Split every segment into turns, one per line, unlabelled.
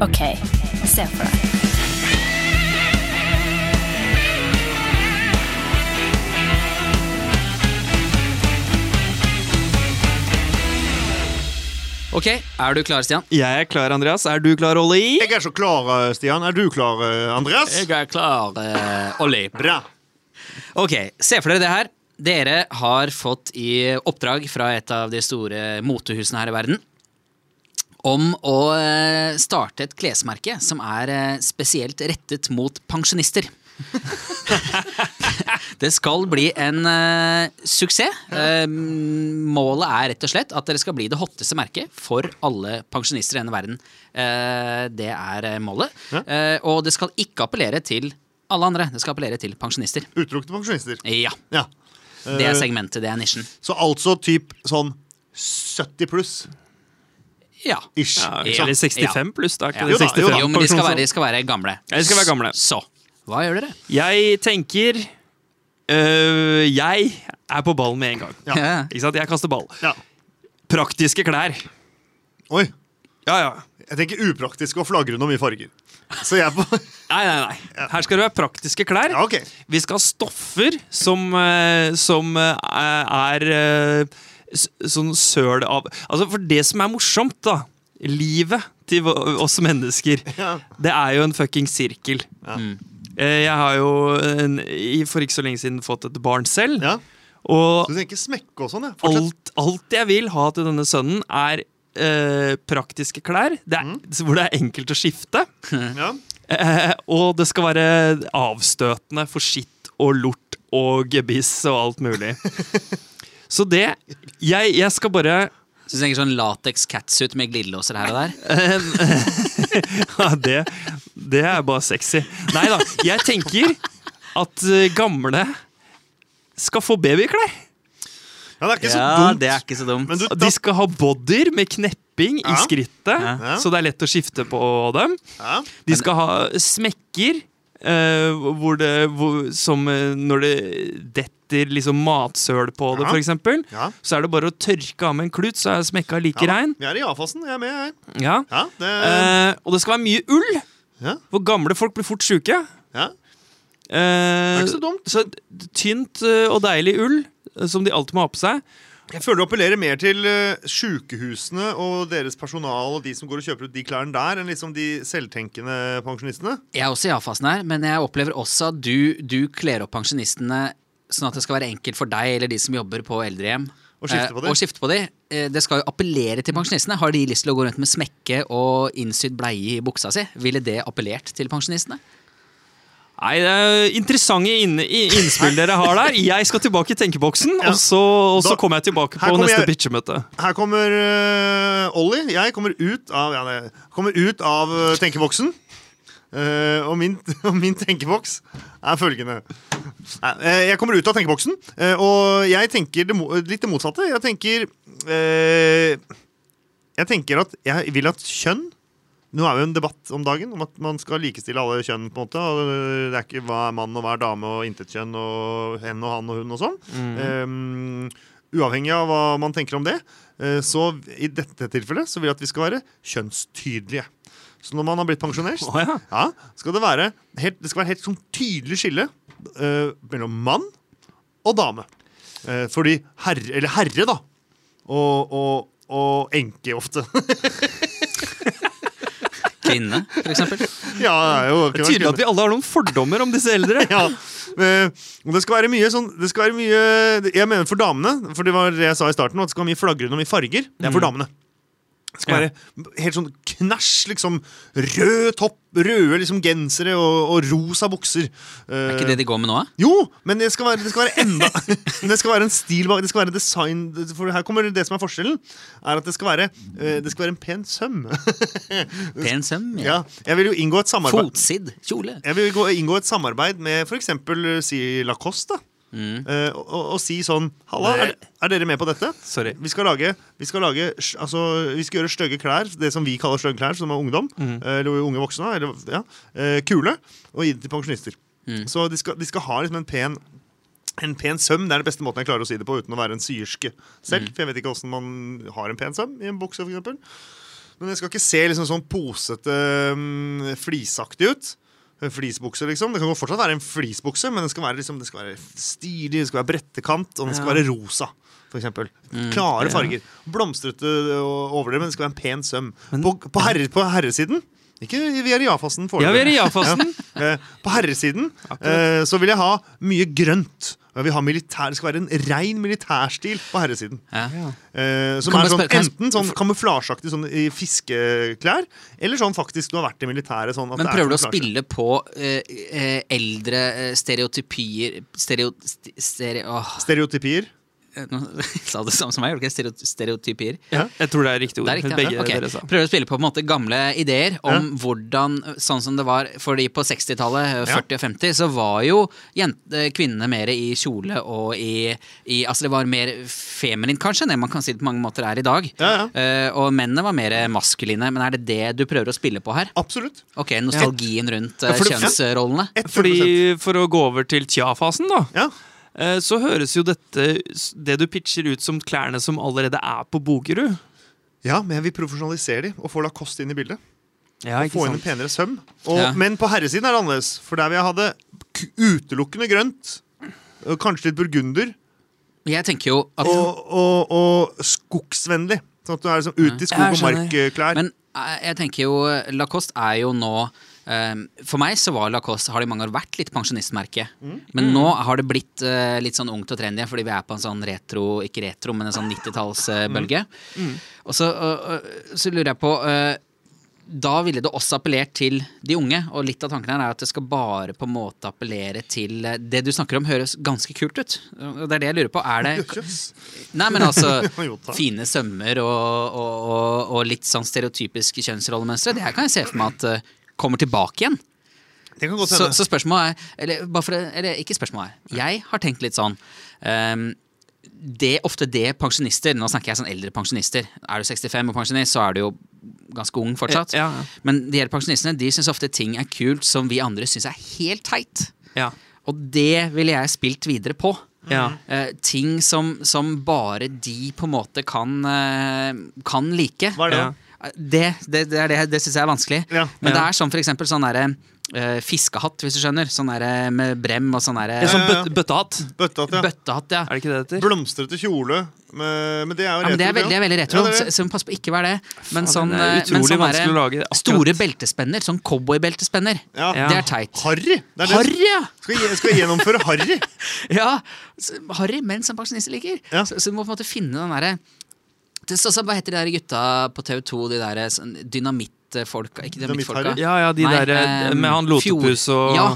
OK, se for deg.
Ok, er du klar, Stian?
Jeg er klar, Andreas. Er du klar, Olli?
Jeg er så klar, eh, Stian. Er du klar, eh, Andreas?
er klar, eh, Olli.
Bra.
Ok, se for dere det her. Dere har fått i oppdrag fra et av de store motehusene her i verden om å eh, starte et klesmerke som er eh, spesielt rettet mot pensjonister. det skal bli en eh, suksess. Eh, målet er rett og slett at dere skal bli det hotteste merket for alle pensjonister i denne verden. Eh, det er eh, målet. Eh, og det skal ikke appellere til alle andre. Det skal appellere til pensjonister.
Utelukket pensjonister.
Ja.
Ja.
Det er
Eh,
segmentet, det er nisjen.
Så altså typ sånn 70 pluss
Ja.
ish. ikke sant?
Ja.
Eller 65 pluss, da.
Ja.
Jo
Ikke det?
da, jo da.
Jo, men de skal
Pensjons-
være, de skal være gamle.
Ja, de skal være gamle.
Så hva gjør dere?
Jeg tenker øh, Jeg er på ballen med en gang.
Ja.
Ja.
Ikke sant? Jeg kaster ball.
Ja.
Praktiske klær.
Oi.
Ja, ja.
Jeg tenker upraktisk og flagrende og mye farger. Så jeg er på
Nei, nei, nei. Her skal det være praktiske klær.
Ja, OK.
Vi skal ha stoffer som, eh, som eh, er eh, s- sånn søl av Altså, for det som er morsomt, da Livet til vå- oss mennesker,
Ja.
det er jo en fucking sirkel. Eh, Jeg har jo en, i- for ikke så lenge siden fått et barn selv,
Ja.
og
Du tenker smekke og sånn, ja. Fortsett.
alt, alt jeg vil ha til denne sønnen, er eh, praktiske klær, det
Mm.
er, hvor det er enkelt å skifte.
Ja.
Eh, og det skal være avstøtende for skitt og lort og gebiss og alt mulig. Så det Jeg, jeg skal bare
Så du tenker sånn lateks catsuit med glidelåser her og der?
ja, det, det er bare sexy. Nei da. Jeg tenker at eh, gamle skal få babyklær.
ja, det er ikke så
Ja,
dumt.
det er ikke så dumt.
Men du,
De
da,
skal ha bodyer med knepping i
Ja.
skrittet,
Ja.
så det er lett å skifte på dem.
ja.
De skal ha smekker eh, hvor det, hvor, som eh, når det detter liksom matsøl på det,
Ja.
for eksempel
Ja.
Så er det bare å tørke av med en klut, så er smekka like
Ja, da.
rein.
Vi er i A-fasen. Jeg er med, jeg.
Ja.
Ja, det,
Eh, og det skal være mye ull,
ja,
for gamle folk blir fort sjuke.
ja. Det
Eh,
er ikke så dumt.
så d- tynt eh, og deilig ull eh, som de alltid må ha på seg.
Jeg føler du appellerer mer til eh, sjukehusene og deres personal og de som går og kjøper ut de klærne der, enn liksom de selvtenkende pensjonistene.
Jeg er også i A-fasen her, men jeg opplever også at du, du kler opp pensjonistene sånn at det skal være enkelt for deg eller de som jobber på eldrehjem.
Å skifte på
Eh,
de.
å skifte på de. Eh, Det skal jo appellere til pensjonistene. Har de lyst til å gå rundt med smekke og innsydd bleie i buksa si? Ville det appellert til pensjonistene?
Nei, det er Interessante inn, i- innspill dere har der. Jeg skal tilbake i tenkeboksen,
Ja.
og så, og så
Da-
kommer jeg tilbake
Her
på
kommer
neste
jeg-
bitchemøte.
Her kommer eh, Ollie. Jeg kommer ut av, ja, nei, kommer ut av eh, tenkeboksen. Eh, og, min, og min tenkeboks er følgende. Nei, eh, jeg kommer ut av tenkeboksen, eh, og jeg tenker det, mo- litt det motsatte. Jeg tenker eh, Jeg tenker at jeg vil at kjønn Nå er jo en debatt om dagen om at man skal likestille alle kjønn. på en måte og eh, Det er ikke hva er mann og hva er dame og intetkjønn og hen og han og hun og sånn.
Mm.
Eh, uavhengig av hva man tenker om det, eh, så i dette tilfellet så vil jeg at vi skal være kjønnstydelige. Så når man har blitt pensjonert,
Å, ja.
ja, skal det, være helt, det skal være helt sånn tydelig skille eh, mellom mann og dame. Eh, fordi herre, eller herre, da, og, og, og enke ofte.
Kvinne, for eksempel?
ja, det er jo det kunne vært
Tydelig at vi alle har noen fordommer om disse eldre.
ja. eh, og det skal være mye sånn det skal være mye, Jeg mener for damene, for det var det jeg sa i starten, at det skal være mye flagrende og mye farger. Det er for damene. Det skal
Ja.
være helt sånn knæsj, liksom. Rød topp, røde liksom gensere og, og rosa bukser. eh,
Er ikke det de går med nå, eh? da?
Jo, men det skal være, det skal være enda Men det skal være en stil bak, det skal være design For her kommer det som er forskjellen, er at det skal være, eh, det skal være en pen søm.
Pen søm?
ja, jeg vil jo inngå et samarbeid
Fotsidd kjole.
jeg vil gå, inngå et samarbeid med f.eks. si Lacoste. da. Eh, og, og, og si sånn Halla, er, er dere med på dette?
Sorry.
Vi skal lage, vi skal lage sj- altså, vi skal gjøre stygge klær, det som vi kaller stygge klær, som er ungdom. eh, Eller unge voksne. Eller, ja, eh, kule. Og gi det til pensjonister. Så de skal, de skal ha liksom en pen en pen søm det er den beste måten jeg klarer å si det på uten å være en syerske selv. For jeg vet ikke hvordan man har en pen søm i en bukse, f.eks. Men det skal ikke se liksom sånn posete, mm, flisaktig ut. En Flisbukse, liksom. Det kan jo fortsatt være en flisbukse, men det skal være, liksom, det skal være stilig, det skal være brettekant, og den skal være rosa. For eksempel.
Mm,
Klare farger. Blomstrete og overdrevet, men det skal være en pen søm. På, på, herre, på herresiden Ikke vi er i ja-fasen
Ja, vi er i ja-fasen.
Eh, På herresiden eh, så vil jeg ha mye grønt. Jeg vil ha militær, det skal være en rein militærstil på herresiden.
Ja.
Eh, som
Kan
er
jeg
sånn,
spørre- kan jeg-
enten sånn kamuflasjeaktig sånn i fiskeklær, eller sånn faktisk du har vært i militæret. Sånn at
Men
det er
prøver du å
kamuflasje.
spille på eh, eh, eldre eh, stereotypier Stereo... st- stereo åh,
Stereotypier.
eh, nå sa du det samme som meg, gjorde du ikke? Stereo- Stereotypier.
Jeg tror det er riktig ord.
Det er riktig,
Begge
ja. Ok.
dere sa.
Prøver å spille på, på en måte gamle ideer om hvordan Sånn som det var fordi på 60-tallet, eh,
Ja.
40- og 50, så var jo jent- eh, kvinnene mer i kjole og i, i Altså det var mer feminint, kanskje, enn det man kan si det på mange måter er i dag.
Ja,
Eh, og mennene var mer maskuline. Men er det det du prøver å spille på her?
Absolutt.
Ok, nostalgien rundt eh,
Ja, for det-
kjønnsrollene.
100
Fordi For å gå over til tja-fasen, da.
Ja.
eh, Så høres jo dette Det du pitcher ut som klærne som allerede er på Bogerud.
ja, men jeg vil profesjonalisere de og få Lacoste inn i bildet.
Ja,
Få inn en penere søm. Og,
Ja.
Men på herresiden er det annerledes, for der vil jeg ha det k- utelukkende grønt. og Kanskje litt burgunder.
Jeg tenker jo at
Og, og, og skogsvennlig. Sånn at du er liksom ute i skog-
Jeg
og
skjønner.
markklær.
Men eh, jeg tenker jo eh, Lacoste er jo nå eh, For meg så var Lacoste har det i mange år vært litt pensjonistmerke. Men nå har det blitt eh, litt sånn ungt og trendy fordi vi er på en sånn retro Ikke retro, men en sånn 90-tallsbølge. Og så, eh, eh, så lurer jeg på eh, da ville det også appellert til de unge, og litt av tanken her er at det skal bare på en måte appellere til eh, Det du snakker om, høres ganske kult ut. Og det er det jeg lurer på. Er det
Jøss.
Nei, men altså
Jo, takk.
Fine sømmer og, og, og, og litt sånn stereotypiske kjønnsrollemønstre. Det her kan jeg se for meg at eh, kommer tilbake igjen.
Det kan godt
Så,
hende.
så spørsmålet er Eller, bare for, å- eller ikke spørsmålet er Jeg har tenkt litt sånn ehm, det, Ofte det pensjonister Nå snakker jeg sånn eldre pensjonister. Er du 65 og pensjonist, så er du jo ganske ung fortsatt.
Ja, ja.
Men de eldre pensjonistene De syns ofte ting er kult som vi andre syns er helt teit.
Ja.
Og det ville jeg spilt videre på.
Ja.
Eh, ting som, som bare de på en måte kan, eh, kan like.
Hva er det?
Ja.
da?
Eh, Det, det, det, er det, det syns jeg er vanskelig.
Ja.
Men det
Ja.
er sånn for eksempel sånn derre eh, fiskehatt, hvis du skjønner. Sånn derre med brem og sånn derre
En sånn
Ja, ja, ja.
bøt, bøttehatt.
Bøttehatt, ja.
bøttehatt, ja.
Er det ikke det det heter?
Blomstrete kjole. Men, men det er jo
Ja, men det er veldig, det er veldig retro,
Ja, det er
så-
det.
så pass på ikke å være det. Men sånn,
det er
eh, men
utrolig
sånn derre
vanskelig å lage akkurat.
store beltespenner, sånn cowboybeltespenner,
Ja.
Ja.
det er teit.
Harry! Det er det.
Harry, ja!
Skal, jeg- skal jeg gjennomføre Harry?
Ja, så- Harry, men som pensjonister liker.
Ja.
Så, så du må på en måte finne den derre Det er også- Hva heter de der gutta på TV2, de der sånn dynamittfolka? Ikke dynamittfolka.
Dynamitt-Harry?
Ja, ja, de
Nei,
der eh,
ehm,
med han
Fjord-
Lotepus og
Ja,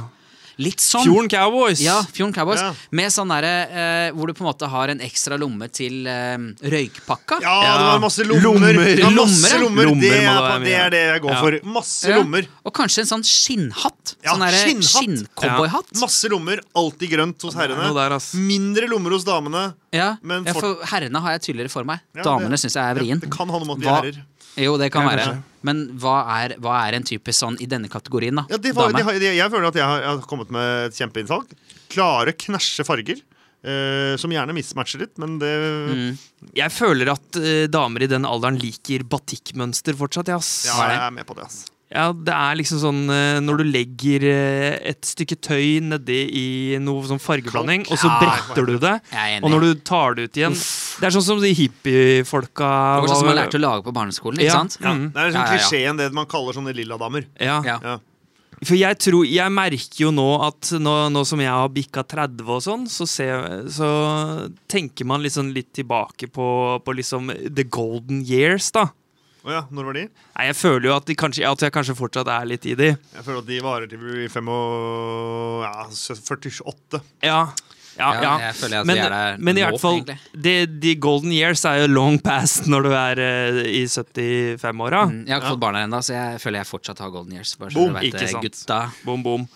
litt sånn.
Fjorden Cowboys.
Ja, Fjorden Cowboys.
Ja.
Med sånn derre eh, hvor du på en måte har en ekstra lomme til eh, røykpakka.
Ja,
Ja.
det var masse lommer.
Lommer.
Ja, masse
Lommer, ja.
lommer.
Lommer
Det,
må
er,
det være mye,
det
ja.
er det jeg går
Ja.
for. Masse
Ja.
lommer.
Og kanskje en sånn skinnhatt.
Ja,
sånn derre
skinnhatt.
skinncowboyhatt.
Masse lommer, alltid grønt hos
det er noe der,
herrene.
ass.
Mindre lommer hos damene.
Ja,
Men
ja,
for-
for herrene har jeg tydeligere for meg.
Ja,
Damene
det-
syns jeg er
Ja,
vrien.
Det kan handle om at vi
Hva-
er herrer.
Jo, det kan
Ja,
være.
kanskje.
Men hva er, hva er en type sånn i denne kategorien, da?
Ja, det var,
Dame?
det, har- det, jeg føler at jeg har, jeg har kommet med et kjempeinnsalg. Klare, knæsje farger. eh, som gjerne mismatcher litt, men det
Mm.
Jeg føler at eh, damer i den alderen liker batikkmønster fortsatt. Ja, ass.
Ja,
Hva er det?
jeg er med på det. ass
Ja, det er liksom sånn eh, når du legger eh, et stykke tøy nedi i noe sånn fargeblanding, og så
Ja,
bretter du det,
Jeg er enig.
og når du tar det ut igjen Det er sånn som de hippiefolka
det var sånn som man lærte å
var-
lage på barneskolen, ikke
Ja.
sant?
Ja,
Mm.
Det er sånn
Ja, ja, ja.
klisjeen det man kaller sånne lilladamer.
ja.
Ja.
Ja.
For jeg tror, jeg merker jo nå at nå, nå som jeg har bikka 30 og sånn, så, ser, så tenker man liksom litt tilbake på, på liksom the golden years, da.
Å ja, når var de?
Nei, Jeg føler jo at, de kanskje, at jeg kanskje fortsatt er litt i de.
Jeg føler at de varer til vi blir fem og ja, 48.
Ja, ja,
Ja,
ja.
jeg føler at vi
men,
er der
men i
nå,
hvert fall,
egentlig.
de, de golden years er jo long past når du er eh, i 75-åra.
Mm, Jeg har ikke fått barn her ennå, så jeg føler jeg fortsatt har golden years. Bare så
Boom,
du vet
ikke
det,
sant.
gutta.
Bom, bom.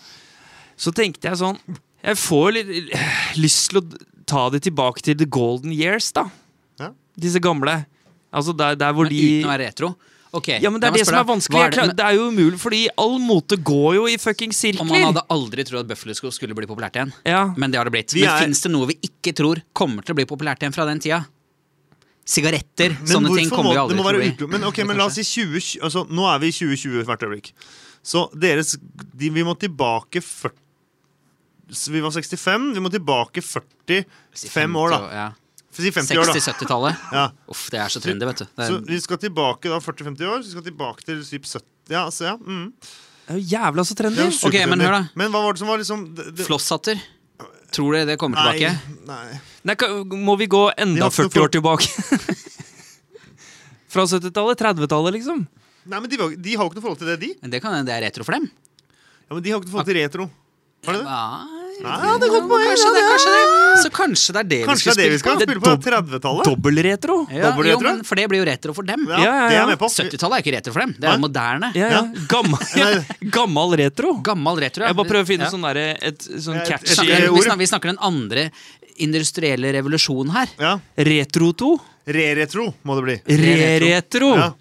Så tenkte jeg sånn Jeg får litt eh, lyst til å ta det tilbake til the golden years, da.
Ja.
Disse gamle. Altså der, der hvor
Men
de
uten å være retro. Ok,
ja, men Det
la
er
meg
det som
spørre
er
deg,
vanskelig.
hva
Jeg klarer-
med-
det er jo umulig, fordi all mote går jo i fucking
Om man
sirkler.
hadde aldri trodd at Buffalo-sko skulle bli populært igjen.
Ja.
Men det har det blitt.
Vi
Men
er-
fins det noe vi ikke tror kommer til å bli populært igjen fra den tida? Sigaretter,
Men
sånne
hvorfor
ting kommer
må,
jo aldri
det må være
til å bli.
utelukket. Men, ok, men la oss si 20, altså, Nå er vi i 2020 hvert øyeblikk. Så deres de, Vi må tilbake 40 så Vi var 65, vi må tilbake 45 år, da.
Ja.
Si 50 år, da.
60-70-tallet.
Ja.
Uff, det er så trendy, vet du. Det
Så
er,
vi skal tilbake da 40-50 år, så vi skal tilbake til typ 70 Ja, så ja. Mm.
Det er jo jævla så trendy!
Det er jo
Ok, men
supertrendy.
hør da.
Men hva var det som var liksom det, det,
flosshatter. Tror dere det kommer
Nei,
tilbake?
nei.
Nei, ka- må vi gå
De
enda
har ikke noe
40 år tilbake? Fra 70-tallet? 30-tallet, liksom?
nei, men de, var- de har jo ikke noe forhold til det, de.
Men det kan hende det er retro for dem.
Ja, men De har ikke noe forhold til retro. Har de det?
Nei,
Nei,
det er godt poeng, Ah, kanskje, det, kanskje det. Så kanskje det er det
Kanskje det er det vi
vi
skal
skulle spille på?
spille på
dob-
30-tallet?
Dobbelretro?
Ja,
Dobbel
jo,
retro?
men for det blir jo retro for dem.
Ja,
Ja, ja,
det er
ja.
jeg med på.
70-tallet er ikke retro for dem. Det er jo moderne.
Ja, ja. Gammal,
Nei.
gammal retro?
Gammel retro. ja.
Jeg bare prøver å
Ja.
finne sånn derre et sånn
Ja, et-
Vi
catchy
snakker,
Eh,
vi,
ord.
snakker, vi snakker den andre industrielle revolusjonen her.
Ja.
Retro-to?
Re-retro må det bli.
Re-retro?
Ja.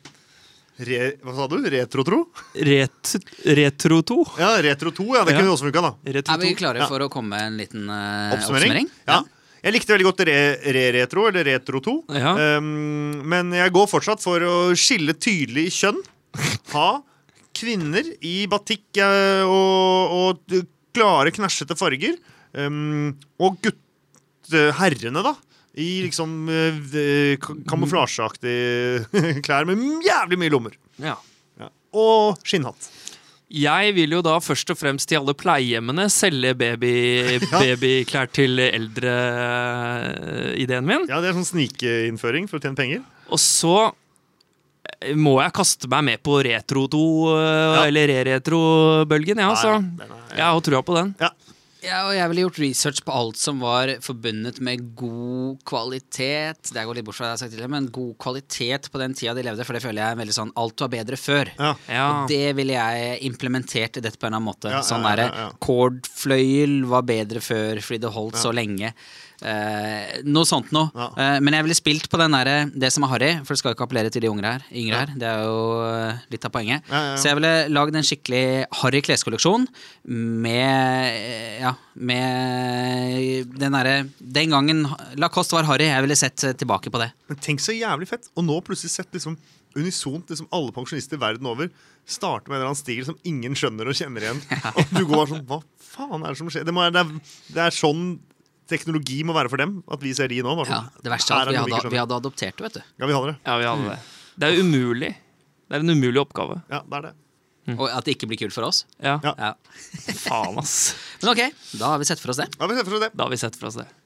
Re, hva sa du? Retro-tro?
Ret, Retro-to?
Ja, Retro 2. ja, Det kunne
Ja.
vi også funka, da.
Er vi
Retro-to?
klare
Ja.
for å komme med en liten eh,
Oppsummering.
oppsummering?
Ja. Jeg likte veldig godt re- re-retro, eller retro 2.
Ja.
Um, men jeg går fortsatt for å skille tydelig kjønn. Ha kvinner i batikk eh, og, og klare, knæsjete farger. Um, og gutteherrene, da. I liksom eh, v- ka- kamuflasjeaktige klær med jævlig mye lommer.
Ja.
Ja. Og skinnhatt.
Jeg vil jo da først og fremst til alle pleiehjemmene selge baby, babyklær til eldre-ideen min.
Ja, Det er sånn snikinnføring for å tjene penger.
Og så eh, må jeg kaste meg med på retro-to, eh,
Ja.
eller re-retro-bølgen, jeg, ja, altså.
Ja, den er-
Jeg har trua på den.
Ja, og jeg ville gjort research på alt som var forbundet med god kvalitet. Det går litt bort fra det jeg har sagt tidligere, men god kvalitet på den tida de levde, for det føler jeg er veldig sånn alt var bedre før.
ja.
Ja.
Og det ville jeg implementert i dette på en eller annen måte.
Ja, ja,
sånn
ja,
derre
ja, ja.
Kordfløyel var bedre før fordi det holdt så lenge. Eh, noe sånt noe.
Ja.
Eh, men jeg ville spilt på den derre det som er harry, for det skal jo ikke appellere til de yngre her. Yngre her. Det er jo eh, litt av poenget.
Ja, ja, ja.
Så jeg ville lagd en skikkelig harry kleskolleksjon med eh, Ja, med den derre Den gangen Lacoste var harry, jeg ville sett eh, tilbake på det.
Men tenk så jævlig fett. Og nå plutselig sett liksom unisont liksom alle pensjonister verden over starte med en eller annen stil som ingen skjønner og kjenner igjen. Og du går bare sånn Hva faen er det som skjer? Det, må, være- det, er, det er sånn teknologi må være for dem. At vi ser de nå. Bare
Ja,
sånn,
det verste er
her
at vi
noe
hadde,
ikke
vi
skjønner.
hadde adoptert det, vet du.
Ja, vi hadde det.
ja, vi
Mm.
hadde det. Det er jo umulig. Det er en umulig oppgave.
Ja, det er det.
Og at det ikke blir kult for oss.
Ja.
Ja.
Ja.
Faen, ass.
Men ok, da har vi sett for oss det.
Ja, vi ser for oss det.
Da har vi sett for oss det.